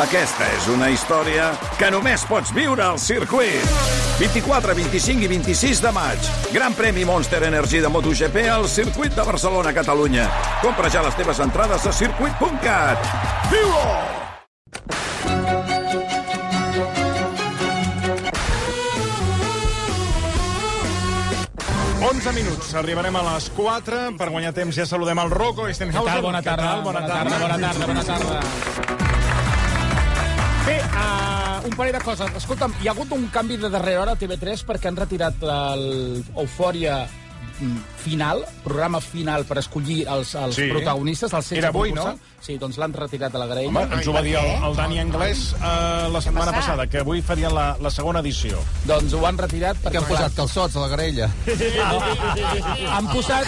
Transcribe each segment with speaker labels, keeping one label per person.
Speaker 1: Aquesta és una història que només pots viure al circuit. 24, 25 i 26 de maig. Gran premi Monster Energy de MotoGP al circuit de Barcelona, Catalunya. Compra ja les teves entrades a circuit.cat. Viu-ho!
Speaker 2: Exacte. 11 minuts, arribarem a les 4. Per guanyar temps ja saludem el Rocco Eisenhauser.
Speaker 3: Tal, bona
Speaker 2: Què
Speaker 3: tarda,
Speaker 2: tal?
Speaker 3: bona tarda, bona tarda, bona tarda. Bé, uh, un parell de coses. Escolta'm, hi ha hagut un canvi de darrera hora a TV3 perquè han retirat l'eufòria final, programa final per escollir els, els
Speaker 2: Sí.
Speaker 3: sí. protagonistes, els setze
Speaker 2: Era avui,
Speaker 3: concursants. Sí, doncs l'han retirat de la graella.
Speaker 2: Home, ens ho va dir el, el Dani Anglès eh, la setmana passada, que avui farien la, la segona edició.
Speaker 3: Doncs ho han retirat perquè...
Speaker 4: Que han posat calçots a la garella.
Speaker 3: clar, Han posat...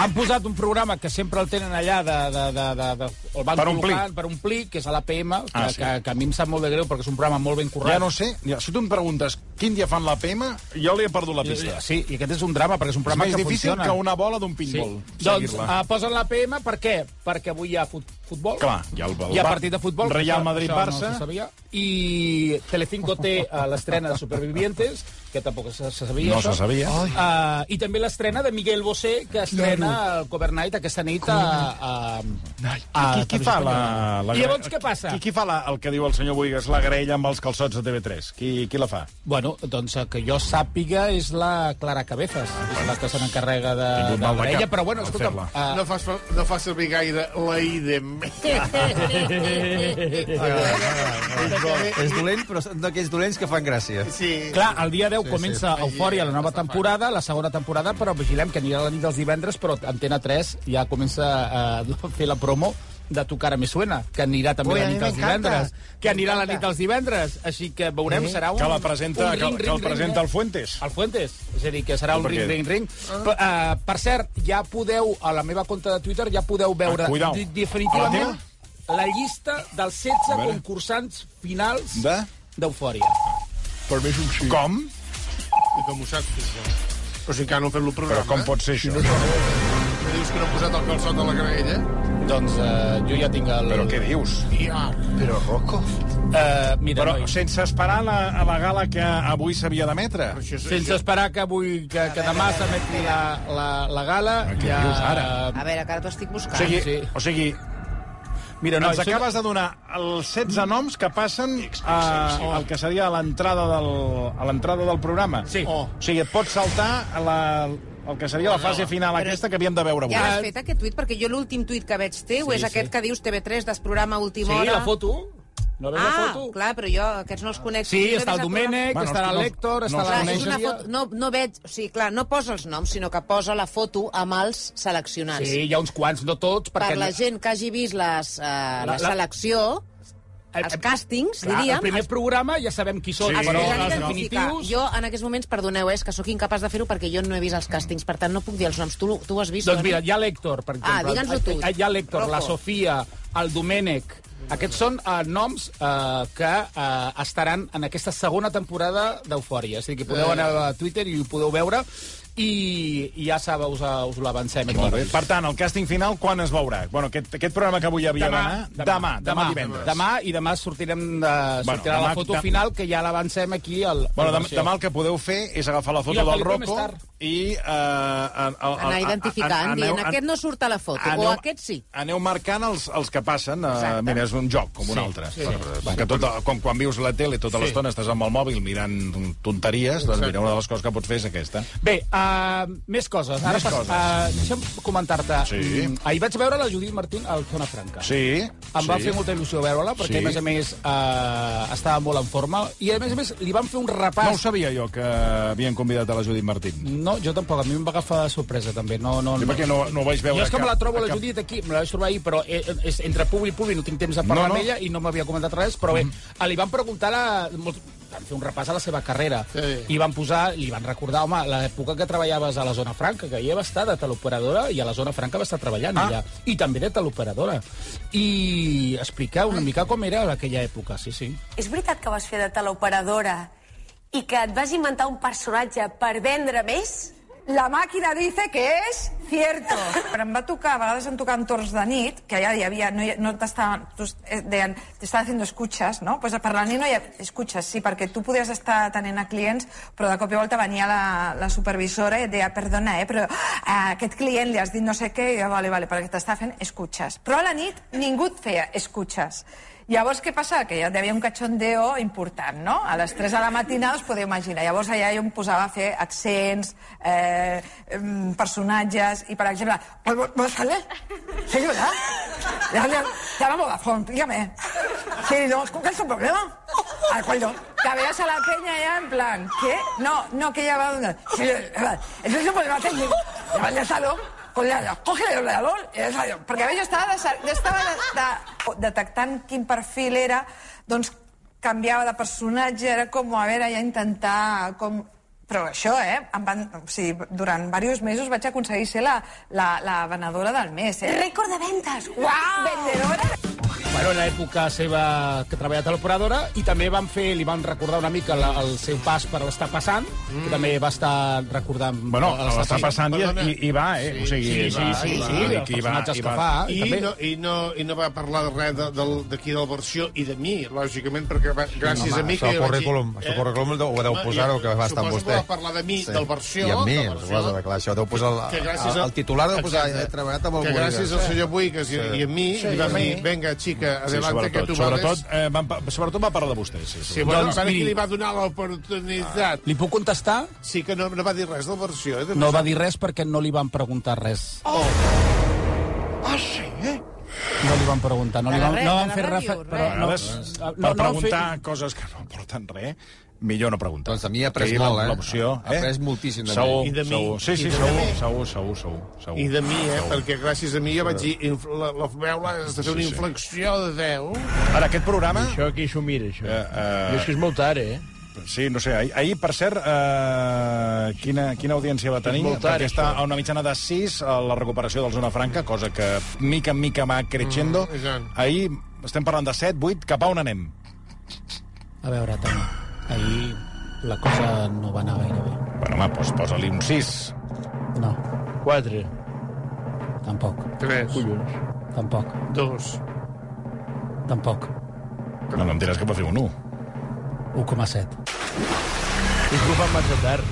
Speaker 3: Han posat un programa que sempre el tenen allà de, de, de, de, de el van
Speaker 2: Per
Speaker 3: col·locar
Speaker 2: omplir.
Speaker 3: per omplir, que és a l'APM, que,
Speaker 2: Ah,
Speaker 3: ah,
Speaker 2: sí.
Speaker 3: sí. que, que a mi em sap molt de greu perquè és un programa molt ben
Speaker 2: Ja
Speaker 3: currat.
Speaker 2: no sé, ja, si tu em preguntes quin dia fan la PM, jo li he perdut la pista.
Speaker 3: Sí, i aquest és un drama, perquè és un
Speaker 2: És
Speaker 3: programa
Speaker 2: més
Speaker 3: que
Speaker 2: difícil
Speaker 3: funciona.
Speaker 2: que una bola d'un pinball.
Speaker 3: Sí. Doncs
Speaker 2: seguir-la.
Speaker 3: uh, posen la PM per què? Perquè avui hi ha fut futbol.
Speaker 2: Clar, hi ha el- el
Speaker 3: hi ha
Speaker 2: Bar-
Speaker 3: partit de futbol. que
Speaker 2: Real
Speaker 3: això-
Speaker 2: Madrid-Barça.
Speaker 3: Això no se sabia. I Telecinco té uh, l'estrena de Supervivientes, que tampoc se, se sabia.
Speaker 2: No
Speaker 3: això.
Speaker 2: se sabia.
Speaker 3: Uh, I també l'estrena de Miguel Bosé, que estrena el Covernight aquesta nit a... a, a,
Speaker 2: qui, qui fa la, la...
Speaker 3: I llavors què passa?
Speaker 2: Qui, qui fa la, el que diu el senyor Boigas, la graella amb els calçots de TV3? Qui, qui la fa?
Speaker 3: Bueno, doncs eh, que jo sàpiga és la Clara Cabezas, és la que se n'encarrega de,
Speaker 2: Tingut
Speaker 3: de
Speaker 2: mal de
Speaker 3: l'orella,
Speaker 2: cap
Speaker 3: però bueno,
Speaker 2: al
Speaker 3: escolta'm,
Speaker 2: fer-la.
Speaker 4: Ah.
Speaker 3: eh,
Speaker 5: No fas, no fas servir gaire la idem. Ah,
Speaker 4: És dolent, però són d'aquells dolents que fan gràcia.
Speaker 5: Sí.
Speaker 3: Clar, el dia 10 sí,
Speaker 4: sí.
Speaker 3: comença sí. Eufòria, la nova temporada, la segona temporada, però vigilem que anirà la nit dels divendres, però Antena 3 ja comença eh, a fer la promo de Tu cara me suena, que anirà també
Speaker 5: Ui,
Speaker 3: la
Speaker 5: a mi
Speaker 3: nit dels
Speaker 5: m'encanta.
Speaker 3: divendres. Que anirà la nit dels divendres. Així que veurem, serà Ah, un...
Speaker 2: Que la presenta,
Speaker 3: un ring,
Speaker 2: que, que
Speaker 3: ring,
Speaker 2: el
Speaker 3: ring,
Speaker 2: presenta
Speaker 3: ring.
Speaker 2: el Fuentes.
Speaker 3: El Fuentes, és a dir, que serà un
Speaker 2: Perquè-
Speaker 3: ring, ring, ring.
Speaker 6: Ah.
Speaker 3: Per, eh, per cert, ja podeu, a la meva conta de Twitter, ja podeu veure
Speaker 2: Ah, cuidao.
Speaker 3: di-
Speaker 2: A la
Speaker 3: definitivament la llista dels 16
Speaker 2: veure.
Speaker 3: concursants finals
Speaker 2: De?
Speaker 3: d'Eufòria.
Speaker 5: Per mi és un xic.
Speaker 2: Com?
Speaker 5: I com ho saps, tu, això? Però si encara no han fet el
Speaker 2: Però
Speaker 5: programa.
Speaker 2: com pot ser això?
Speaker 5: Me dius que no han posat el calçot a la graella?
Speaker 3: Doncs eh, jo ja tinc el...
Speaker 2: Però què dius?
Speaker 5: Ja. Però
Speaker 4: oh,
Speaker 5: Rocco...
Speaker 3: Eh, mira,
Speaker 2: Però
Speaker 3: Però, noi,
Speaker 2: sense esperar la, a la gala que avui s'havia d'emetre.
Speaker 5: Això és,
Speaker 3: sense esperar que avui que, que demà s'emeti la, la, la gala...
Speaker 2: què dius ara?
Speaker 6: A veure, que ara t'ho estic
Speaker 2: O
Speaker 6: buscant.
Speaker 2: sigui,
Speaker 3: Sí.
Speaker 2: o sigui
Speaker 3: Mira, no,
Speaker 2: ens acabes de donar els 16 noms que passen a, al que seria a l'entrada del, a l'entrada del programa.
Speaker 3: Sí.
Speaker 2: O sigui, et pots saltar a la, el que seria la fase final aquesta que havíem de veure avui.
Speaker 6: Ja has fet aquest tuit? Perquè jo l'últim tuit que veig teu
Speaker 3: Sí,
Speaker 6: és aquest
Speaker 3: sí.
Speaker 6: que dius TV3 desprograma a última
Speaker 3: Sí,
Speaker 6: hora.
Speaker 3: la foto. No veus la
Speaker 6: Ah,
Speaker 3: foto?
Speaker 6: clar, però jo aquests no els conec.
Speaker 3: Sí,
Speaker 6: Jo
Speaker 3: està
Speaker 6: veig
Speaker 3: el
Speaker 6: programa-
Speaker 3: Domènec,
Speaker 2: Bueno, és
Speaker 3: està
Speaker 2: que no-
Speaker 3: l'Héctor,
Speaker 2: no
Speaker 3: està la
Speaker 6: Clar, és
Speaker 3: Conèixer.
Speaker 6: una foto... No, no veig... O sigui, clar, no posa els noms, sinó que posa la foto amb els seleccionats.
Speaker 3: Sí, hi ha uns quants, no tots,
Speaker 6: Per
Speaker 3: perquè...
Speaker 6: la gent que hagi vist les, eh, la,
Speaker 3: la-
Speaker 6: la selecció,
Speaker 3: El-
Speaker 6: els càstings,
Speaker 3: Eh, Clar,
Speaker 6: diríem,
Speaker 3: el primer programa ja sabem qui
Speaker 2: Sí,
Speaker 3: són, sí,
Speaker 6: Els
Speaker 3: però
Speaker 6: que s'han
Speaker 3: els
Speaker 6: d'identificar.
Speaker 3: definitius...
Speaker 6: Jo, en aquests moments, perdoneu, eh, és que sóc incapaç de fer-ho perquè jo no he vist els càstings, per tant, no puc dir els noms. Tu, lo- tu ho has vist,
Speaker 3: Doncs
Speaker 6: Toni?
Speaker 3: mira, hi ha l'Hèctor, per
Speaker 6: Ah,
Speaker 3: exemple.
Speaker 6: digue'ns-ho tu.
Speaker 3: Ah, Hi ha l'Hèctor,
Speaker 6: Rocco.
Speaker 3: la Sofia, el Domènec... Aquests són eh, noms eh, que eh, estaran en aquesta segona temporada d'Eufòria. És a dir, que
Speaker 2: Eh.
Speaker 3: podeu anar a Twitter i ho podeu veure i, i ja sabeu, us, eh, us l'avancem aquí.
Speaker 2: Per tant, el càsting final quan es veurà? Bueno, aquest, aquest programa que avui havia d'anar... eh? demà, demà divendres.
Speaker 3: Demà i demà sortirem de, sortirà
Speaker 2: demà-
Speaker 3: la foto
Speaker 2: demà-
Speaker 3: final, que ja l'avancem aquí. Al,
Speaker 2: Bueno,
Speaker 3: al
Speaker 2: demà, demà el que podeu fer és agafar la
Speaker 3: I la
Speaker 2: foto del
Speaker 3: pel·lícula
Speaker 2: Rocco
Speaker 3: més tard.
Speaker 2: i... Eh, a, a, a,
Speaker 6: Anar identificant, dient, aquest no surt a la foto, o aquest sí.
Speaker 2: Ah, Aneu marcant els, els que passen. Eh,
Speaker 6: Exacte.
Speaker 2: mira, és un joc, com un
Speaker 3: Sí,
Speaker 2: altre.
Speaker 3: sí.
Speaker 2: Per, que tot, com quan vius la tele tota l'estona estàs amb el mòbil mirant tonteries, doncs mira, una de les coses que pots fer és aquesta.
Speaker 3: Bé, uh, més coses. Ara
Speaker 2: Més
Speaker 3: pas-
Speaker 2: coses.
Speaker 3: Uh, deixa'm comentar-te.
Speaker 2: Sí.
Speaker 3: Mm, Ahir vaig veure la Judit Martín al Zona Franca.
Speaker 2: Sí,
Speaker 3: Em
Speaker 2: sí.
Speaker 3: va fer molta il·lusió veure-la,
Speaker 2: Sí.
Speaker 3: perquè, a més a més, eh, estava molt en forma. I, a més a més, li van fer un repàs...
Speaker 2: No ho sabia jo, que havien convidat a la Judit Martín.
Speaker 3: No, jo tampoc. A mi em va agafar de sorpresa, també. No, no,
Speaker 2: Jo
Speaker 3: no.
Speaker 2: perquè no, no ho vaig veure.
Speaker 3: Jo és que me
Speaker 2: cap-
Speaker 3: la trobo,
Speaker 2: a
Speaker 3: la
Speaker 2: cap-
Speaker 3: Judit, aquí. Me la vaig trobar ahir, però eh, eh, és entre públic i públic no tinc temps de parlar
Speaker 2: No, Mhm. no.
Speaker 3: amb ella i no m'havia comentat res, però bé, eh, li van preguntar... La... Molt... Van fer un repàs a la seva carrera.
Speaker 5: Sí.
Speaker 3: I van posar, li van recordar, home, l'època que treballaves a la Zona Franca, que ella va estar de teleoperadora i a la Zona Franca va estar treballant
Speaker 2: Ah.
Speaker 3: allà. I també de teleoperadora. I explicar una mica com era aquella època, sí, sí.
Speaker 7: És veritat que vas fer de teleoperadora i que et vas inventar un personatge per vendre més?
Speaker 8: La máquina dice que es
Speaker 7: Cierto. Però em va tocar, a vegades em tocaven torns de nit, que allà hi havia, no, hi- no t'estaven, tu es- eh, deien, t'estava haciendo escuchas, no? Pues per la nit no hi ha escuchas, sí, perquè tu podies estar atenent a clients, però de cop i volta venia la, la supervisora i et deia, perdona, eh, però a aquest client li has dit no sé què, i jo, vale, vale, perquè t'està fent escuchas. Però a la nit ningú et feia escuchas. Llavors, què passa? Que ja hi havia un cachondeo important, no? A les 3 de la matina us podeu imaginar. Llavors allà jo em posava a fer accents, eh, em, personatges, i per exemple... "Pues vos- ¿Vos sale? Sí, ¿verdad? Ya, ya, ya la Vodafone, dígame. Sí, no, ¿con qué es un problema? Ah, ¿cuál no? Que veas a la peña ya en plan, ¿qué? No, no, que ya va a una... Sí, eh, eso es un problema técnico. Ya va, ya salgo. Con la, coge el ordenador i és allò. Perquè a veure, jo estava, de, jo estava de, de, detectant quin perfil era, doncs canviava de personatge, era com, a veure, ja intentar... Com... Però això, eh? Em van, o sigui, durant diversos mesos vaig aconseguir ser la, la, la venedora del mes, eh?
Speaker 8: Récord de ventas.
Speaker 7: Uau! Vendedora!
Speaker 3: Bueno, en l'època seva que treballava a l'operadora i també van fer, li van recordar una mica la, el seu pas per l'estar passant, que també va estar recordant...
Speaker 2: Bueno,
Speaker 3: el
Speaker 2: està passant i,
Speaker 5: Perdona.
Speaker 2: i, i va, eh? o sigui,
Speaker 3: Ah, Sí, sí,
Speaker 2: va,
Speaker 3: sí,
Speaker 2: va,
Speaker 3: sí,
Speaker 2: i
Speaker 3: els
Speaker 2: qui va,
Speaker 3: personatges
Speaker 2: i
Speaker 3: que
Speaker 2: va.
Speaker 3: fa.
Speaker 5: I,
Speaker 3: també.
Speaker 5: no, i, no, I no va parlar de res de- del- d'aquí de, de, de la versió i de mi, lògicament, perquè va, gràcies
Speaker 4: home,
Speaker 5: a mi...
Speaker 4: això al currículum, això al currículum ho deu
Speaker 5: home,
Speaker 4: posar,
Speaker 5: jo
Speaker 4: o que va estar amb
Speaker 5: Eh? suposo
Speaker 4: vostè.
Speaker 5: que va parlar de mi,
Speaker 4: Sí.
Speaker 5: del versió...
Speaker 4: I a mi,
Speaker 5: del
Speaker 4: ho
Speaker 5: versió,
Speaker 4: has de declarar, això deu posar el-
Speaker 5: que gràcies
Speaker 4: el- Ah, el titular deu posar,
Speaker 5: Exacte.
Speaker 4: "He treballat amb el
Speaker 5: que
Speaker 4: Boigas".
Speaker 5: gràcies al senyor Boigas i, i a mi li van dir, venga, xica,
Speaker 2: Sí,
Speaker 5: adelante, que
Speaker 2: sobretot,
Speaker 5: tu
Speaker 2: sobretot,
Speaker 5: vales...
Speaker 2: eh, van, pa- sobretot va parlar de vostè. Sí, sí.
Speaker 5: Sí, bueno,
Speaker 3: Doncs
Speaker 5: doncs,
Speaker 3: miri.
Speaker 5: qui li va donar l'oportunitat.
Speaker 3: Li puc contestar?
Speaker 5: Sí que no, no va dir res de versió. Eh? de
Speaker 3: No va dir res perquè no li van preguntar res.
Speaker 5: Ah, sí, eh?
Speaker 3: No li van preguntar. No, li
Speaker 6: De la
Speaker 3: van,
Speaker 6: red,
Speaker 3: no
Speaker 6: de
Speaker 3: van
Speaker 6: la
Speaker 3: fer res. fe-
Speaker 6: ràdio, res.
Speaker 3: però
Speaker 2: A
Speaker 3: No,
Speaker 2: vegades,
Speaker 3: no,
Speaker 2: per
Speaker 3: no han
Speaker 2: preguntar
Speaker 3: fet-
Speaker 2: coses que Ah. no aporten res, millor no preguntar.
Speaker 4: Doncs a mi he après
Speaker 2: Aquí
Speaker 4: molt,
Speaker 2: la-
Speaker 4: eh?
Speaker 2: L'opció,
Speaker 4: He après moltíssim de mi.
Speaker 2: Segur,
Speaker 5: I de mi.
Speaker 2: segur. Sí, sí,
Speaker 5: I de
Speaker 2: segur,
Speaker 5: mi.
Speaker 2: segur, segur, segur, segur.
Speaker 5: I de mi, eh? Perquè gràcies a mi jo vaig dir... inf- La, la veu has de fer una
Speaker 2: Sí, sí.
Speaker 5: inflexió de veu.
Speaker 2: Ara, aquest programa...
Speaker 9: Això qui s'ho mira, això?
Speaker 2: Eh, eh.
Speaker 9: Jo és que és molt tard, eh?
Speaker 2: Sí, no sé, ahir, ahir per cert, eh, quina, quina audiència va tenir?
Speaker 9: molt tard,
Speaker 2: Perquè està
Speaker 9: això.
Speaker 2: a una mitjana de 6 a la recuperació del Zona Franca, cosa que mica en mica va creixendo.
Speaker 5: i tant.
Speaker 2: ahir estem parlant de 7, 8, cap a on anem?
Speaker 3: A veure, Tom, ahir la cosa no va anar gaire bé.
Speaker 2: Bueno, home, doncs posa-li un 6.
Speaker 3: No,
Speaker 9: Quatre,
Speaker 3: tampoc,
Speaker 5: Tres,
Speaker 9: collons.
Speaker 3: tampoc,
Speaker 5: dos,
Speaker 3: tampoc.
Speaker 2: No, no em diràs que va fer un 1.
Speaker 3: 1,7.
Speaker 9: És que ho fan massa tard.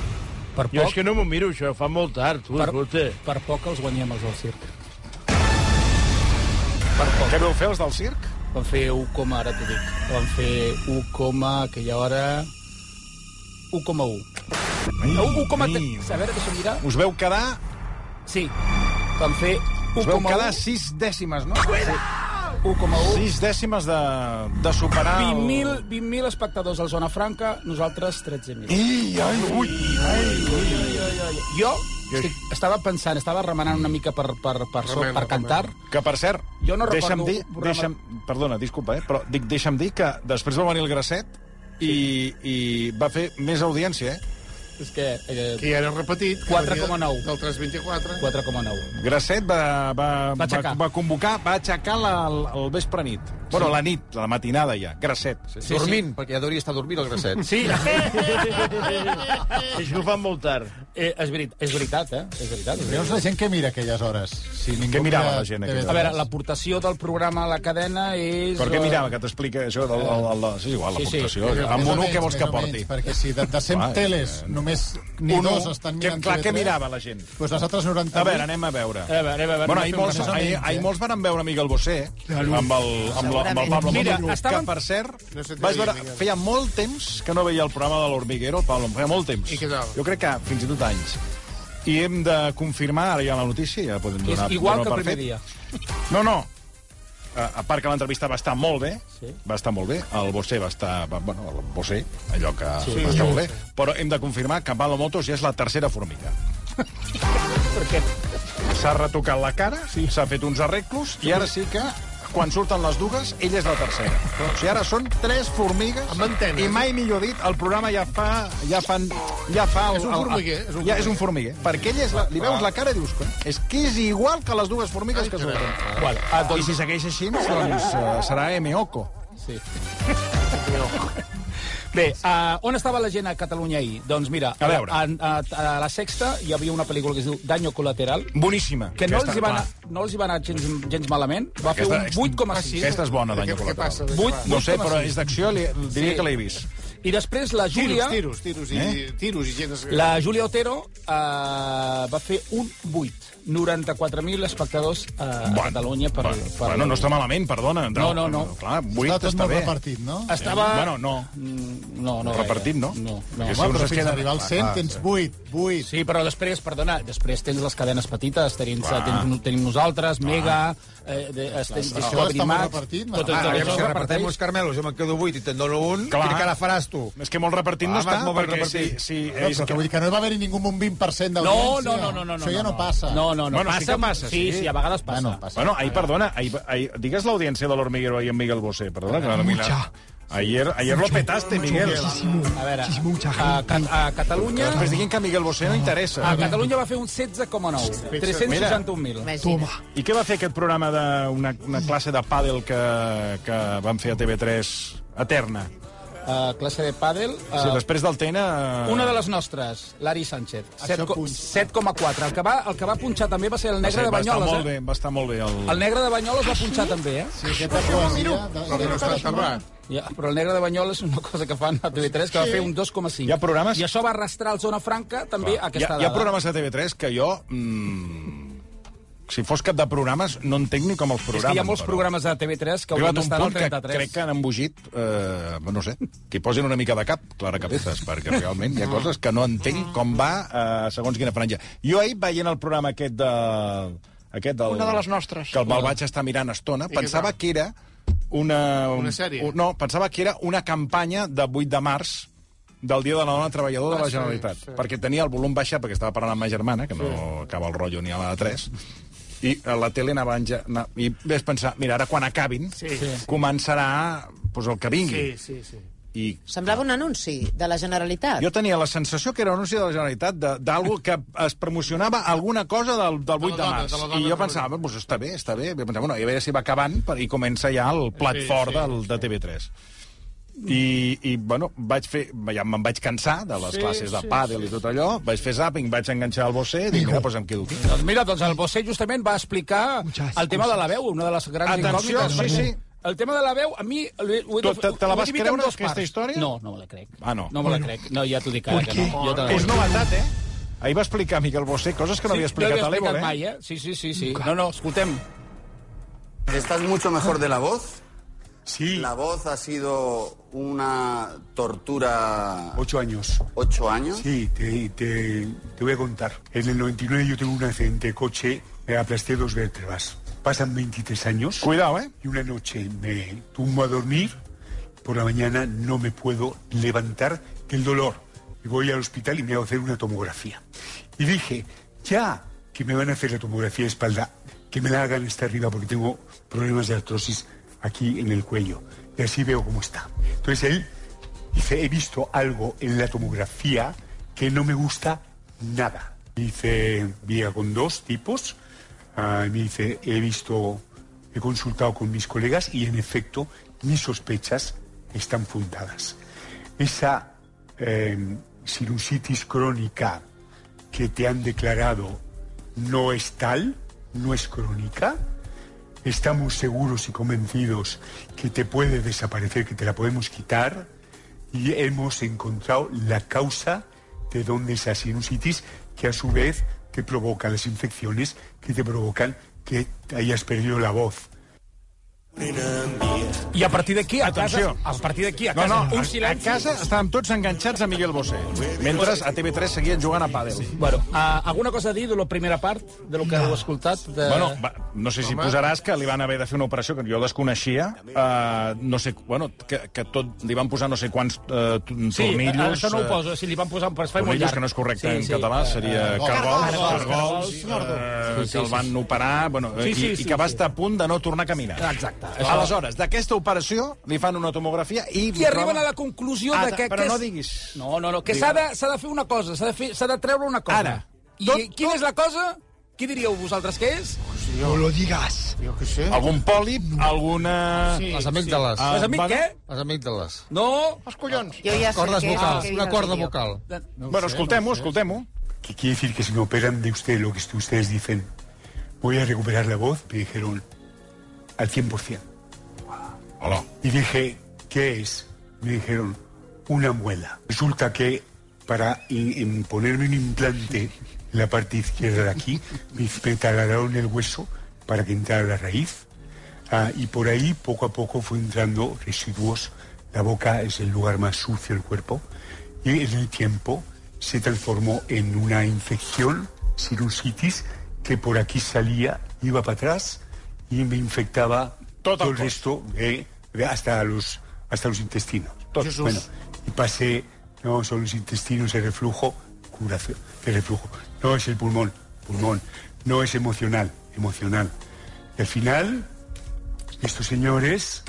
Speaker 3: Per
Speaker 9: Jo és
Speaker 3: poc,
Speaker 9: que no m'ho miro, això. Fa molt tard, tu,
Speaker 3: Per-
Speaker 9: escolta.
Speaker 3: per poc els guanyem els del circ.
Speaker 2: Què veu fer els del circ?
Speaker 3: Van fer 1, ara t'ho dic. Van fer 1, aquella hora... 1,1. No, 1,3. A veure, deixa'm mirar.
Speaker 2: Us veu quedar,
Speaker 3: Sí. Van fer
Speaker 2: us veu
Speaker 3: 1,1.
Speaker 2: quedar 6 dècimes, no?
Speaker 3: 1,1.
Speaker 2: 6 dècimes de, de superar... el-
Speaker 3: 20.000 20.000 espectadors al Zona Franca, nosaltres 13.000.
Speaker 9: Eh?
Speaker 2: Ei, ai, ui, ai, ui.
Speaker 3: Jo estic, estava pensant, estava remenant una mica per, per, per, so,
Speaker 5: Remena,
Speaker 3: per cantar.
Speaker 2: Que, per cert,
Speaker 3: Jo no
Speaker 2: deixa'm
Speaker 3: recordo
Speaker 2: dir...
Speaker 3: un programa-
Speaker 2: Deixa'm, perdona, disculpa, eh, però dic, deixa'm dir que després va venir el Grasset i, i va fer més audiència, eh?
Speaker 3: És que... Eh,
Speaker 5: que ja era repetit. que
Speaker 3: 4,9.
Speaker 5: venia Del 324.
Speaker 3: 4,9.
Speaker 2: Grasset va, va,
Speaker 3: Va aixecar.
Speaker 2: va convocar, va aixecar la, el, el vespre nit. Bueno, la nit, la matinada ja, Grasset. Sí,
Speaker 3: Sí,
Speaker 4: Dormint, perquè ja deuria estar dormint el Grasset.
Speaker 9: Sí. és que ho fan molt tard.
Speaker 3: Eh, és, veri és veritat, eh? És veritat. És veritat.
Speaker 10: Veus la gent que mira aquelles hores? Si ningú
Speaker 2: Què mirava
Speaker 10: mira
Speaker 2: la gent aquelles
Speaker 10: TV3.
Speaker 3: A veure, l'aportació del programa a la cadena és...
Speaker 2: Però què
Speaker 3: eh,
Speaker 2: mirava, que t'explica això del... El, el, el, sí, és igual,
Speaker 3: Sí,
Speaker 2: la
Speaker 3: sí.
Speaker 2: portació.
Speaker 3: Més
Speaker 2: eh, Amb
Speaker 10: Més o
Speaker 2: un 1
Speaker 10: menys,
Speaker 2: què vols
Speaker 10: més
Speaker 2: que
Speaker 10: o
Speaker 2: porti?
Speaker 10: menys, perquè si de, de 100
Speaker 2: Clar,
Speaker 10: teles
Speaker 2: eh,
Speaker 10: només ni
Speaker 2: Un
Speaker 10: dos
Speaker 2: u.
Speaker 10: estan
Speaker 2: Què-
Speaker 10: mirant
Speaker 2: clar,
Speaker 10: TV3,
Speaker 2: què mirava la gent?
Speaker 10: Doncs les altres 98...
Speaker 2: A veure, anem a veure.
Speaker 3: A veure, a veure, a veure,
Speaker 2: Bueno, ahir
Speaker 3: anem a fer
Speaker 2: molts,
Speaker 3: una cosa.
Speaker 10: eh?
Speaker 2: ahir, ahir molts van veure Miguel Bosé eh? amb el, amb, la, amb el Pablo
Speaker 3: Mira,
Speaker 2: Montero,
Speaker 3: estaven-
Speaker 2: que, per cert,
Speaker 5: No se te
Speaker 2: vaig
Speaker 5: veia,
Speaker 2: veure,
Speaker 5: Miguel.
Speaker 2: feia molt temps que no veia el programa de l'Hormiguero, el Pablo, feia molt temps.
Speaker 5: I què tal?
Speaker 2: Jo crec que fins i tot anys. I hem de confirmar, ara ja la notícia, ja podem
Speaker 3: És
Speaker 2: donar...
Speaker 3: igual
Speaker 2: donar
Speaker 3: que el
Speaker 2: per
Speaker 3: primer
Speaker 2: fet.
Speaker 3: dia.
Speaker 2: No, no. A, a part que l'entrevista va estar molt bé, sí.
Speaker 3: Sí.
Speaker 2: va estar molt bé, el Bosé va estar... Va, bueno, el Bosé, allò que sí, va estar molt bé, però hem de confirmar que Pablo Motos ja és la tercera formiga. S'ha retocat la cara, s'ha fet uns arreglos, i ara sí que, quan surten les dues, ella és la tercera. O sigui, ara són tres formigues,
Speaker 5: Amb antenes.
Speaker 2: i mai millor dit, el programa ja fa... Ja fan, ja fa el,
Speaker 5: És un
Speaker 2: el-
Speaker 5: formiguer, Ah. és un
Speaker 2: ja és un formiguer. Perquè ella és la, li veus la cara i dius... "Coi, És que és igual que les dues formigues que surten.
Speaker 3: Bueno, ah,
Speaker 2: I
Speaker 3: doncs,
Speaker 2: si segueix així, doncs eh, serà Emeoco.
Speaker 3: sí. Bé, uh, on estava la gent a Catalunya ahir? Doncs mira,
Speaker 2: A veure.
Speaker 3: A, a, a la sexta hi havia una pel·lícula que es diu Daño Colateral,
Speaker 2: Boníssima.
Speaker 3: que no
Speaker 2: Aquesta,
Speaker 3: els, hi va anar,
Speaker 2: clar.
Speaker 3: no els hi va anar gens, gens malament. Va fer
Speaker 2: Aquesta-
Speaker 3: un 8,6.
Speaker 2: Aquesta és bona,
Speaker 5: Què,
Speaker 2: Danyo
Speaker 5: què passa?
Speaker 2: Colateral.
Speaker 5: De què
Speaker 3: Vuit.
Speaker 5: va?
Speaker 2: No sé, però és d'acció, li, diria
Speaker 3: Sí.
Speaker 2: que l'he vist.
Speaker 3: I després la Júlia...
Speaker 5: Tiros, tiros, tiros, i,
Speaker 2: Eh?
Speaker 5: tiros i gent... Es...
Speaker 3: La Júlia Otero eh, va fer un 8. 94.000 espectadors eh, a Catalunya per...
Speaker 2: bueno,
Speaker 3: per
Speaker 2: bueno, no està malament, perdona.
Speaker 3: No, no, no.
Speaker 2: Clar,
Speaker 10: Està
Speaker 2: 8
Speaker 10: tot
Speaker 2: està
Speaker 10: molt
Speaker 2: bé.
Speaker 10: repartit, no?
Speaker 3: Estava...
Speaker 2: Bueno, no.
Speaker 3: Mm, no, no
Speaker 2: Repartit, no?
Speaker 3: gaire. No, no.
Speaker 2: Perquè
Speaker 10: Home,
Speaker 2: uns es
Speaker 10: però fins
Speaker 2: queden-
Speaker 10: a arribar al
Speaker 2: clar,
Speaker 10: 100
Speaker 2: clar,
Speaker 10: tens 8, 8.
Speaker 3: Sí, però després, perdona, després tens les cadenes petites, tenim,
Speaker 2: Clar.
Speaker 3: tenim, tenim nosaltres, Mega, eh, de, estem, Discovery
Speaker 10: està molt
Speaker 3: Max...
Speaker 10: repartit, no?
Speaker 3: Tot, tot,
Speaker 4: Ah,
Speaker 3: tot,
Speaker 4: aviam
Speaker 3: això
Speaker 4: si
Speaker 3: es
Speaker 4: repartim
Speaker 3: reparteix.
Speaker 4: uns carmelos, jo me'n quedo vuit i te'n dono un.
Speaker 2: Clar.
Speaker 4: Quina cara faràs tu?
Speaker 2: És que molt repartit no
Speaker 4: Ah,
Speaker 2: està,
Speaker 4: molt
Speaker 2: perquè si...
Speaker 4: repartit.
Speaker 2: si
Speaker 10: No,
Speaker 2: és
Speaker 10: però que
Speaker 2: que-
Speaker 10: vull dir que no va haver-hi ningú amb un 20%
Speaker 3: No,
Speaker 10: d'audiència.
Speaker 3: no, no, no, no, no.
Speaker 10: Això ja no, passa.
Speaker 3: No, no, no.
Speaker 2: Bueno, sí que passa,
Speaker 3: Sí,
Speaker 2: sí.
Speaker 3: sí, a vegades passa.
Speaker 10: Bueno, passa.
Speaker 2: Bueno, ahir, perdona, ahir, ahir, digues l'audiència de l'Hormiguero i en Miguel Bosé, perdona. Que no, Mucha. Ayer, ayer lo petaste, Miguel.
Speaker 3: a veure, a, a, a Catalunya...
Speaker 2: Després diguin que Miguel Bosé no interessa.
Speaker 3: A Catalunya va fer un 16,9. 361.000.
Speaker 6: Imagina't. Toma.
Speaker 2: I què va fer aquest programa d'una una classe de pàdel que, que van fer a TV3 eterna?
Speaker 3: Uh, classe de pàdel... Uh,
Speaker 2: Si després del TN...
Speaker 3: Una de les nostres, l'Ari Sánchez,
Speaker 10: Això
Speaker 3: set co-
Speaker 10: punxa.
Speaker 3: 7,4. El, que va- el que va punxar també va ser el
Speaker 2: Va,
Speaker 3: negre
Speaker 2: ser,
Speaker 3: de
Speaker 2: va estar
Speaker 3: Banyoles,
Speaker 2: molt
Speaker 3: eh?
Speaker 2: bé, Ah, va estar molt bé. El...
Speaker 3: El negre de Banyoles va punxar també, eh?
Speaker 10: Sí, aquesta poesia... De...
Speaker 5: Però que no està enterrat.
Speaker 3: Ja, però el negre de Banyoles és una cosa que fan a TV3 que va fer un 2,5.
Speaker 2: Hi ha programes-
Speaker 3: I això va arrastrar al Zona Franca també
Speaker 2: hi,
Speaker 3: Clar.
Speaker 2: ha,
Speaker 3: aquesta
Speaker 2: hi ha
Speaker 3: dada.
Speaker 2: programes de TV3 que jo... Mm, si fos cap de programes, no entenc ni com els
Speaker 3: És
Speaker 2: programes.
Speaker 3: que hi ha molts
Speaker 2: però.
Speaker 3: programes de TV3 que
Speaker 2: Ha
Speaker 3: haurien
Speaker 2: arribat un
Speaker 3: d'estar al
Speaker 2: punt que
Speaker 3: 33.
Speaker 2: crec que han embogit, eh, no sé, que hi posin una mica de cap, Clara Cabezas, perquè realment
Speaker 3: Ah.
Speaker 2: hi ha coses que no entenc com va eh, segons quina franja. Jo ahir veient el programa aquest de... Aquest del,
Speaker 8: Una de les nostres.
Speaker 2: Que el me'l vaig estar mirant estona,
Speaker 5: què
Speaker 2: pensava
Speaker 5: tal?
Speaker 2: que era una...
Speaker 5: Una sèrie?
Speaker 2: Un, no, pensava que era una campanya de 8 de març del Dia de la Dona Treballadora
Speaker 8: Ah,
Speaker 2: de la Generalitat. Perquè tenia el volum baixat, perquè estava parlant amb ma germana, que no acaba el rotllo ni a la de 3, i a la tele anava... enja- na- I vaig pensar, mira, ara quan acabin,
Speaker 8: Sí, sí.
Speaker 2: començarà pues, el que vingui.
Speaker 8: Sí, sí, sí.
Speaker 2: I
Speaker 6: Semblava un anunci de la Generalitat.
Speaker 2: jo tenia la sensació que era un anunci de la Generalitat de- d'algo que es promocionava alguna cosa del, del 8 de,
Speaker 5: dona,
Speaker 2: març.
Speaker 5: de la dona
Speaker 2: I jo
Speaker 5: treballadora.
Speaker 2: pensava, pues, està bé, està bé. I pensava, bueno, i a veure si va acabant per, i comença ja el plat sí,
Speaker 5: Sí,
Speaker 2: fort sí,
Speaker 5: sí,
Speaker 2: del, de TV3. I, i bueno, vaig fer, ja me'n vaig cansar de les sí, classes de pàdel sí, i tot allò, vaig fer zàping, vaig enganxar el bosser, dic, mira, doncs em quedo aquí.
Speaker 3: Doncs mira, doncs el Bosé justament va explicar el tema de la veu, una de les grans
Speaker 2: Atenció,
Speaker 3: incògnites.
Speaker 2: sí,
Speaker 3: perquè
Speaker 2: sí.
Speaker 3: El tema de la veu, a mi... Ho he, ho he,
Speaker 2: Tu te- te la
Speaker 3: ho he
Speaker 2: vas
Speaker 3: dividit
Speaker 2: creure,
Speaker 3: en dues
Speaker 2: aquesta
Speaker 3: parts.
Speaker 2: història?
Speaker 3: No, no me la crec.
Speaker 2: Ah, no.
Speaker 3: No me la crec. No, ja t'ho dic ara que no. Jo te la
Speaker 2: És
Speaker 3: crec.
Speaker 2: novetat, eh? Ahir va explicar Miquel Bosé coses que no havia explicat
Speaker 3: no
Speaker 2: a l'Evo, eh?
Speaker 3: mai, eh? Sí, sí, sí, sí. No, no, escoltem.
Speaker 8: Estás mucho mejor de la voz.
Speaker 2: Sí.
Speaker 8: La voz ha sido una tortura
Speaker 10: Ocho años.
Speaker 8: ocho años.
Speaker 10: Sí, te, te, te voy a contar. En el 99 yo tuve un accidente de coche, me aplasté dos vértebras. Pasan 23 años
Speaker 2: Cuidao, eh?
Speaker 10: y una noche me tumbo a dormir. Por la mañana no me puedo levantar del dolor. Y voy al hospital y me hago hacer una tomografía. Y dije, ya que me van a hacer la tomografía de espalda, que me la hagan esta arriba porque tengo problemas de artrosis aquí en el cuello. Y así veo cómo está. Entonces él Dice, he visto algo en la tomografía que no me gusta nada. Dice, vía con dos tipos. Ah, me dice, he visto, he consultado con mis colegas y en efecto mis sospechas están fundadas. Esa eh, sinusitis crónica que te han declarado no es tal, no es crónica, estamos seguros y convencidos que te puede desaparecer, que te la podemos quitar y hemos encontrado la causa de donde esa sinusitis que a su vez te provoca las infecciones que te provocan que hayas perdido la voz.
Speaker 3: I a partir d'aquí, a casa...
Speaker 2: Atenció.
Speaker 3: A partir d'aquí, a
Speaker 2: No,
Speaker 3: casa...
Speaker 2: no,
Speaker 3: un
Speaker 2: a, a
Speaker 3: silenci.
Speaker 2: casa estàvem tots enganxats a Miguel Bosé, mentre a TV3 seguien jugant a pàdel. Sí.
Speaker 3: Bueno, uh, alguna cosa a dir de la primera part, de lo que heu escoltat? De...
Speaker 2: Bueno, va, no sé si posaràs que li van haver de fer una operació que jo desconeixia, uh, no sé, bueno, que, que tot, li van posar no sé quants uh,
Speaker 3: sí,
Speaker 2: tornillos...
Speaker 3: això no ho
Speaker 2: eh,
Speaker 3: poso, si li van posar un perfil molt
Speaker 2: Tornillos,
Speaker 3: llarg.
Speaker 2: que no és correcte sí, en català,
Speaker 3: eh,
Speaker 2: seria
Speaker 3: eh,
Speaker 2: cargols,
Speaker 3: cargols,
Speaker 2: cargols, eh, que el van operar, bueno,
Speaker 3: Sí, sí,
Speaker 2: i,
Speaker 3: sí,
Speaker 2: i que va
Speaker 3: sí.
Speaker 2: estar a punt de no tornar a caminar.
Speaker 3: Exacte.
Speaker 2: Aleshores, d'aquesta operació li fan una tomografia i...
Speaker 3: I arriben a la conclusió
Speaker 2: Ah,
Speaker 3: de que...
Speaker 2: però
Speaker 3: que
Speaker 2: no
Speaker 3: és-
Speaker 2: diguis.
Speaker 3: No, no, no, que s'ha de, s'ha de fer una cosa, s'ha de, fer, s'ha de treure una cosa.
Speaker 2: Ara.
Speaker 3: I
Speaker 2: Tot-
Speaker 3: quina és la cosa? Qui diríeu vosaltres que és?
Speaker 5: No
Speaker 11: lo digas.
Speaker 5: Jo què sé.
Speaker 2: Algun pòlip, alguna...
Speaker 5: Sí,
Speaker 4: Les amígdales.
Speaker 3: Ah,
Speaker 2: sí. Les amí- què?
Speaker 4: Les amígdales.
Speaker 3: No!
Speaker 5: Els collons.
Speaker 6: Jo ja sé
Speaker 4: Cordas
Speaker 6: què és el
Speaker 4: vocals,
Speaker 6: que diu
Speaker 4: una
Speaker 6: el
Speaker 4: corda
Speaker 6: vídeo.
Speaker 4: vocal.
Speaker 2: bueno, escoltem-ho, escoltem-ho.
Speaker 10: que quiere decir que si me operan de usted lo que est- ustedes dicen, voy a recuperar la voz, me dijeron, al 100%.
Speaker 2: Hola.
Speaker 10: Y dije, ¿qué es? Me dijeron, una muela. Resulta que para i- em ponerme un implante en la parte izquierda de aquí, me, me taladraron el hueso para que entrara la raíz. Ah, y por ahí, poco a poco, fue entrando residuos. La boca es el lugar más sucio del cuerpo. Y en el tiempo se transformó en una infección, sinusitis, que por aquí salía, iba para atrás y me infectaba
Speaker 2: Todo
Speaker 10: todo,
Speaker 2: el
Speaker 10: el resto, eh, de- hasta, los, hasta los intestinos.
Speaker 5: Jesús.
Speaker 10: Bueno, y pasé, no, son los intestinos, el reflujo, curación, el reflujo. No es el pulmón, pulmón. No es emocional, emocional. Y al final, estos señores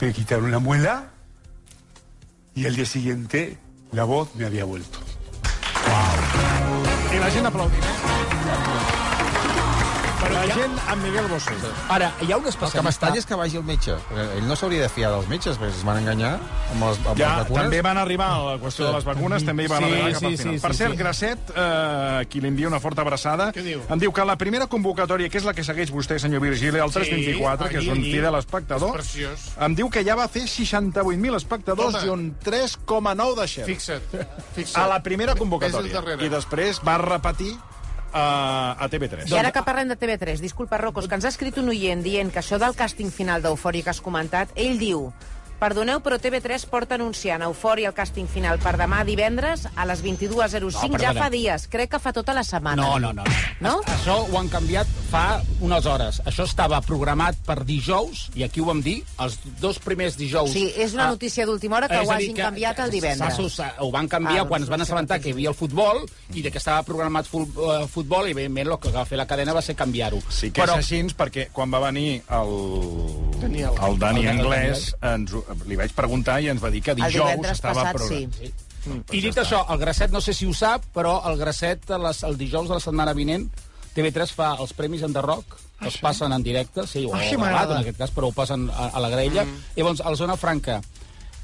Speaker 10: me quitaron la muela y al día siguiente la voz me había vuelto.
Speaker 2: I la gent aplaudint. Però la gent amb Miguel Bosé.
Speaker 3: Ara, hi ha un
Speaker 4: El que
Speaker 3: especialista...
Speaker 4: m'estanya és que vagi al metge. perquè Ell no s'hauria de fiar dels metges, perquè es van enganyar amb les,
Speaker 2: Ja,
Speaker 4: amb les vacunes.
Speaker 2: també van arribar a la qüestió de les vacunes, també hi van
Speaker 3: Sí,
Speaker 2: arribar cap
Speaker 3: sí,
Speaker 2: al final.
Speaker 3: sí,
Speaker 2: per
Speaker 3: sí,
Speaker 2: cert,
Speaker 3: sí.
Speaker 2: Gracet, eh, qui li envia una forta abraçada,
Speaker 5: Què diu?
Speaker 2: em diu que la primera convocatòria, que és la que segueix vostè, senyor Virgili, al
Speaker 5: Sí,
Speaker 2: 324, que és
Speaker 5: allí,
Speaker 2: un
Speaker 5: allí.
Speaker 2: fidel espectador,
Speaker 5: És preciós.
Speaker 2: em diu que ja va fer 68.000 espectadors
Speaker 5: Toma.
Speaker 2: i un 3,9 de share.
Speaker 5: Fixa't, fixa't.
Speaker 2: a la primera
Speaker 5: Ves
Speaker 2: convocatòria.
Speaker 5: al darrere.
Speaker 2: I després va repetir eh, a, a TV3.
Speaker 6: I ara que parlem de TV3, disculpa, Rocos, que ens ha escrit un oient dient que això del càsting final d'Eufòria que has comentat, ell diu... Perdoneu, però TV3 porta anunciant Eufòria el càsting final per demà divendres a les 22.05
Speaker 3: No,
Speaker 6: ja
Speaker 3: perdona.
Speaker 6: fa dies. Crec que fa tota la setmana.
Speaker 3: No, no, no.
Speaker 6: No?
Speaker 3: A- Això ho han canviat fa unes hores. Això estava programat per dijous, i aquí ho vam dir, els dos primers
Speaker 6: O
Speaker 3: dijous.
Speaker 6: sigui, és una
Speaker 3: Ah,
Speaker 6: notícia d'última hora que
Speaker 3: és a
Speaker 6: ho
Speaker 3: dir,
Speaker 6: hagin canviat el divendres.
Speaker 3: s'ha sus- Ho van canviar
Speaker 6: Ah,
Speaker 3: ah,
Speaker 6: doncs
Speaker 3: quan es van assabentar que hi havia el futbol i de que estava programat fut, eh, futbol, i evidentment el que va fer la cadena va ser canviar-ho.
Speaker 2: Sí que
Speaker 3: Però
Speaker 2: és així, perquè quan va venir el,
Speaker 5: Daniel.
Speaker 2: el Dani
Speaker 3: El Dani
Speaker 2: Anglès, ens, ho- li vaig preguntar i ens va dir que
Speaker 6: El
Speaker 2: dijous
Speaker 6: divendres
Speaker 2: estava
Speaker 6: passat, sí.
Speaker 2: programat. Mm, doncs
Speaker 3: I dit això, el Gracet, no sé si ho sap, però el Gracet, a les, el dijous de la setmana vinent, TV3 fa els Premis en The Rock,
Speaker 6: Ah,
Speaker 3: que els passen en directe, sí, o
Speaker 5: Ah, sí,
Speaker 3: gravat,
Speaker 5: m'agrada.
Speaker 3: en aquest cas, però ho passen a, a la graella.
Speaker 6: Mm.
Speaker 3: Llavors, a la Zona Franca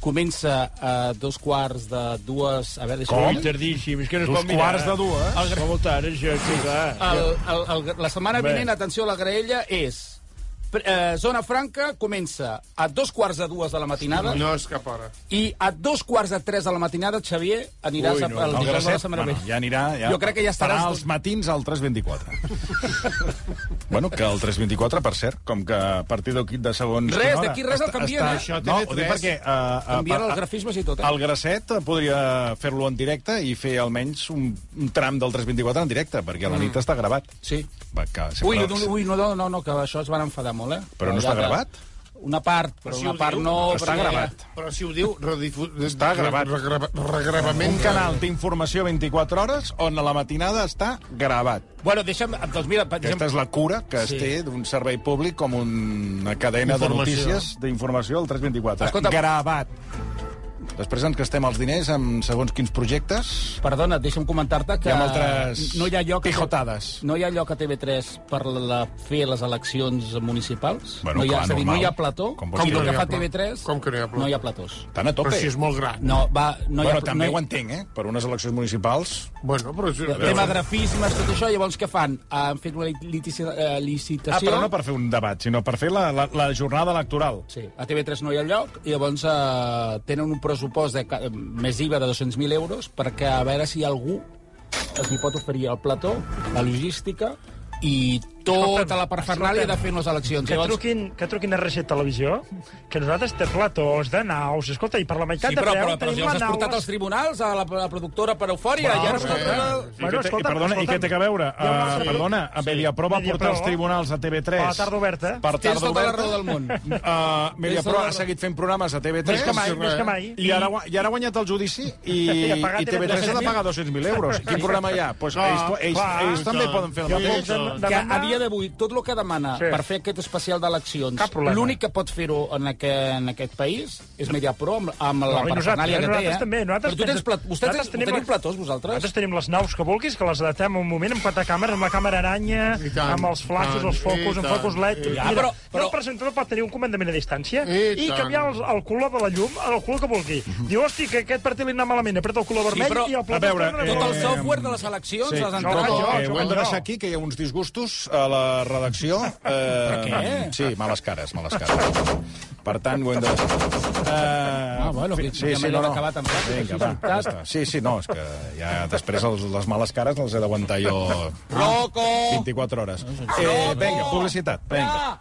Speaker 3: comença a dos quarts de dues... A veure,
Speaker 9: Com?
Speaker 3: deixa'm-
Speaker 9: Tardíssim, és que no es
Speaker 2: Dos
Speaker 9: pot mirar.
Speaker 2: quarts de eh? dues.
Speaker 9: El... Va molt
Speaker 12: eh,
Speaker 9: tard, això, sí,
Speaker 2: Ah,
Speaker 9: clar.
Speaker 3: El, el, el, la setmana
Speaker 9: Bé.
Speaker 3: vinent, atenció, la graella és... pre- Eh, Zona Franca comença a dos quarts de dues de la matinada
Speaker 5: No és cap hora.
Speaker 3: i a dos quarts de tres de la matinada, Xavier, aniràs
Speaker 9: Ui,
Speaker 3: Ui,
Speaker 9: no.
Speaker 3: no. a, al
Speaker 2: El
Speaker 3: dijous de la
Speaker 2: Gracet,
Speaker 3: setmana
Speaker 2: bueno,
Speaker 3: vinent.
Speaker 2: ja anirà... Ja
Speaker 3: Jo crec que ja estaràs-
Speaker 2: farà els matins al 3.24. bueno, que el 3.24, per cert, com que a partir d'aquí de segons...
Speaker 3: Res,
Speaker 2: quina hora,
Speaker 3: d'aquí res
Speaker 2: està-
Speaker 3: el canvien,
Speaker 2: està-
Speaker 3: eh?
Speaker 5: Això
Speaker 2: No,
Speaker 5: TV3.
Speaker 2: ho dic perquè... Uh,
Speaker 3: Canvien els grafismes i tot, eh?
Speaker 2: El Gracet podria fer-lo en directe i fer almenys un, un tram del 3.24 en directe, perquè a la nit està gravat.
Speaker 3: Sí.
Speaker 2: Va, que
Speaker 3: Ui,
Speaker 2: sempre-
Speaker 3: no, no, ui, no, no, no, no, que això es van enfadar molt, eh?
Speaker 2: Però no està
Speaker 3: Ja, ja.
Speaker 2: gravat?
Speaker 3: Una part, però
Speaker 5: si
Speaker 3: una
Speaker 5: ho
Speaker 3: part
Speaker 5: diu,
Speaker 3: no...
Speaker 2: està
Speaker 3: perquè-
Speaker 2: gravat.
Speaker 5: Però si ho diu, redifu...
Speaker 2: Està gravat.
Speaker 5: Regrava- Regravament.
Speaker 2: Un canal d'informació 24 hores on a la matinada està gravat.
Speaker 3: Bueno, deixa'm... Doncs mira, per
Speaker 2: Aquesta
Speaker 3: exemple...
Speaker 2: és la cura que
Speaker 3: Sí.
Speaker 2: es té d'un servei públic com una cadena de
Speaker 5: Informació.
Speaker 2: notícies d'informació al 324.
Speaker 3: Escolta-
Speaker 2: Gravat. Després ens gastem els diners en segons quins projectes.
Speaker 3: Perdona, deixa'm comentar-te que...
Speaker 2: Hi ha altres
Speaker 3: no hi ha lloc a-
Speaker 2: pijotades.
Speaker 3: No hi ha lloc a TV3 per la, fer les eleccions municipals.
Speaker 2: Bueno,
Speaker 3: no hi ha,
Speaker 2: clar,
Speaker 3: és a dir,
Speaker 2: normal.
Speaker 3: no hi ha plató.
Speaker 2: Com
Speaker 3: I
Speaker 2: vols
Speaker 3: el
Speaker 2: dir?
Speaker 3: que fa
Speaker 5: Com que no hi ha plató?
Speaker 3: TV3...
Speaker 5: Com que no hi ha plató?
Speaker 3: No hi ha platós.
Speaker 2: Tan a tope.
Speaker 5: Però si és molt gran.
Speaker 3: No, va... No hi
Speaker 2: bueno,
Speaker 3: ha,
Speaker 2: també
Speaker 3: no hi-
Speaker 2: ho entenc, eh? Per unes eleccions municipals...
Speaker 5: Bueno, però... és-
Speaker 3: Tema grafismes, tot això, llavors què fan? Han fet una litici- eh, licitació...
Speaker 2: Ah, però no per fer un debat, sinó per fer la, la, la jornada electoral.
Speaker 3: Sí, a TV3 no hi ha lloc i llavors eh, tenen un pressupost de, ca- més IVA de 200.000 euros perquè a veure si algú els hi pot oferir el plató, la logística i tota la parfernàlia de fer unes eleccions.
Speaker 12: Que truquin, que truquin a Reset Televisió, que nosaltres té platós de naus, escolta, i per la meitat
Speaker 3: sí, però,
Speaker 12: de preu
Speaker 3: però, però si
Speaker 12: tenim
Speaker 3: els has
Speaker 12: la
Speaker 3: portat
Speaker 12: nau...
Speaker 3: als tribunals, a la, la productora per eufòria,
Speaker 12: Bueno,
Speaker 3: i ara
Speaker 10: eh?
Speaker 12: bé.
Speaker 3: tota escolta...
Speaker 2: I, bueno,
Speaker 12: Bueno,
Speaker 2: que té, i,
Speaker 12: escolta'm,
Speaker 2: perdona, I què
Speaker 12: escolta'm.
Speaker 2: té a veure?
Speaker 12: Hi ha un
Speaker 2: Uh,
Speaker 12: altre
Speaker 2: perdona,
Speaker 12: grup-
Speaker 2: a Mediaprova
Speaker 12: Mediaprova.
Speaker 2: portar els tribunals a TV3.
Speaker 12: Per la tarda oberta.
Speaker 2: Per
Speaker 3: Tens
Speaker 2: tarda
Speaker 3: tota la
Speaker 2: oberta.
Speaker 3: raó del món.
Speaker 2: Uh, Mediaprova ha seguit fent programes a TV3.
Speaker 12: Més que mai,
Speaker 2: Sí,
Speaker 12: més que mai.
Speaker 2: I ara, gua- i ara ha guanyat el judici i,
Speaker 12: I ha pagat
Speaker 2: i TV3 ha de
Speaker 12: 300.000.
Speaker 2: pagar 200.000 euros. Quin programa hi ha? Pues ells, ells,
Speaker 12: clar,
Speaker 2: ells, ells també
Speaker 12: Ah, clar.
Speaker 2: poden fer el
Speaker 12: Jo
Speaker 2: mateix.
Speaker 12: ells han-
Speaker 2: Que
Speaker 3: que
Speaker 12: Demanda-
Speaker 3: havia dia d'avui, tot el que demana
Speaker 10: Sí.
Speaker 3: sí. per fer aquest especial d'eleccions,
Speaker 10: Cap problema.
Speaker 3: l'únic que pot fer-ho en, aqu en aquest país és Mediapro, amb, amb la
Speaker 10: No, i
Speaker 3: personàlia que té.
Speaker 10: nosaltres
Speaker 3: eh?
Speaker 10: també. Nosaltres
Speaker 3: Però tu tens
Speaker 10: tenim-
Speaker 3: plat... Vostès
Speaker 10: nosaltres
Speaker 3: tens-
Speaker 10: tenim
Speaker 3: teniu
Speaker 10: les-
Speaker 3: platós, vosaltres?
Speaker 10: Nosaltres tenim les naus que vulguis, que les adaptem un moment amb quatre càmeres, amb la càmera aranya,
Speaker 3: I tant,
Speaker 10: amb els flaixos,
Speaker 3: i
Speaker 10: els focus,
Speaker 3: tant,
Speaker 10: amb focus LED...
Speaker 3: i tant.
Speaker 10: Mira,
Speaker 3: Ja, però-
Speaker 10: i el presentador pot tenir un comandament a distància i,
Speaker 3: I tant. Mhm.
Speaker 10: canviar el, el color de la llum al color que vulgui. Diu, hosti, que aquest partit li anava malament, apreta el color vermell i el plató... torna
Speaker 3: tot el
Speaker 10: vermell.
Speaker 3: software de les eleccions, les
Speaker 2: Sí,
Speaker 3: han
Speaker 5: Ah,
Speaker 2: però,
Speaker 3: trobat.
Speaker 2: eh, ho hem de deixar aquí, que hi ha uns disgustos a la redacció. Eh, per
Speaker 3: què?
Speaker 2: Sí, males cares, males cares. Per tant, ho hem de deixar. Eh,
Speaker 3: Ah, bueno, que- que manera d'acabar tan ràpid,
Speaker 2: Vinga,
Speaker 3: així,
Speaker 2: va,
Speaker 3: de
Speaker 2: ja
Speaker 3: veritat.
Speaker 2: està. Sí, sí, no, és que ja després els, les males cares les he d'aguantar jo... Roco! 24 hores. Eh, vinga, publicitat, vinga.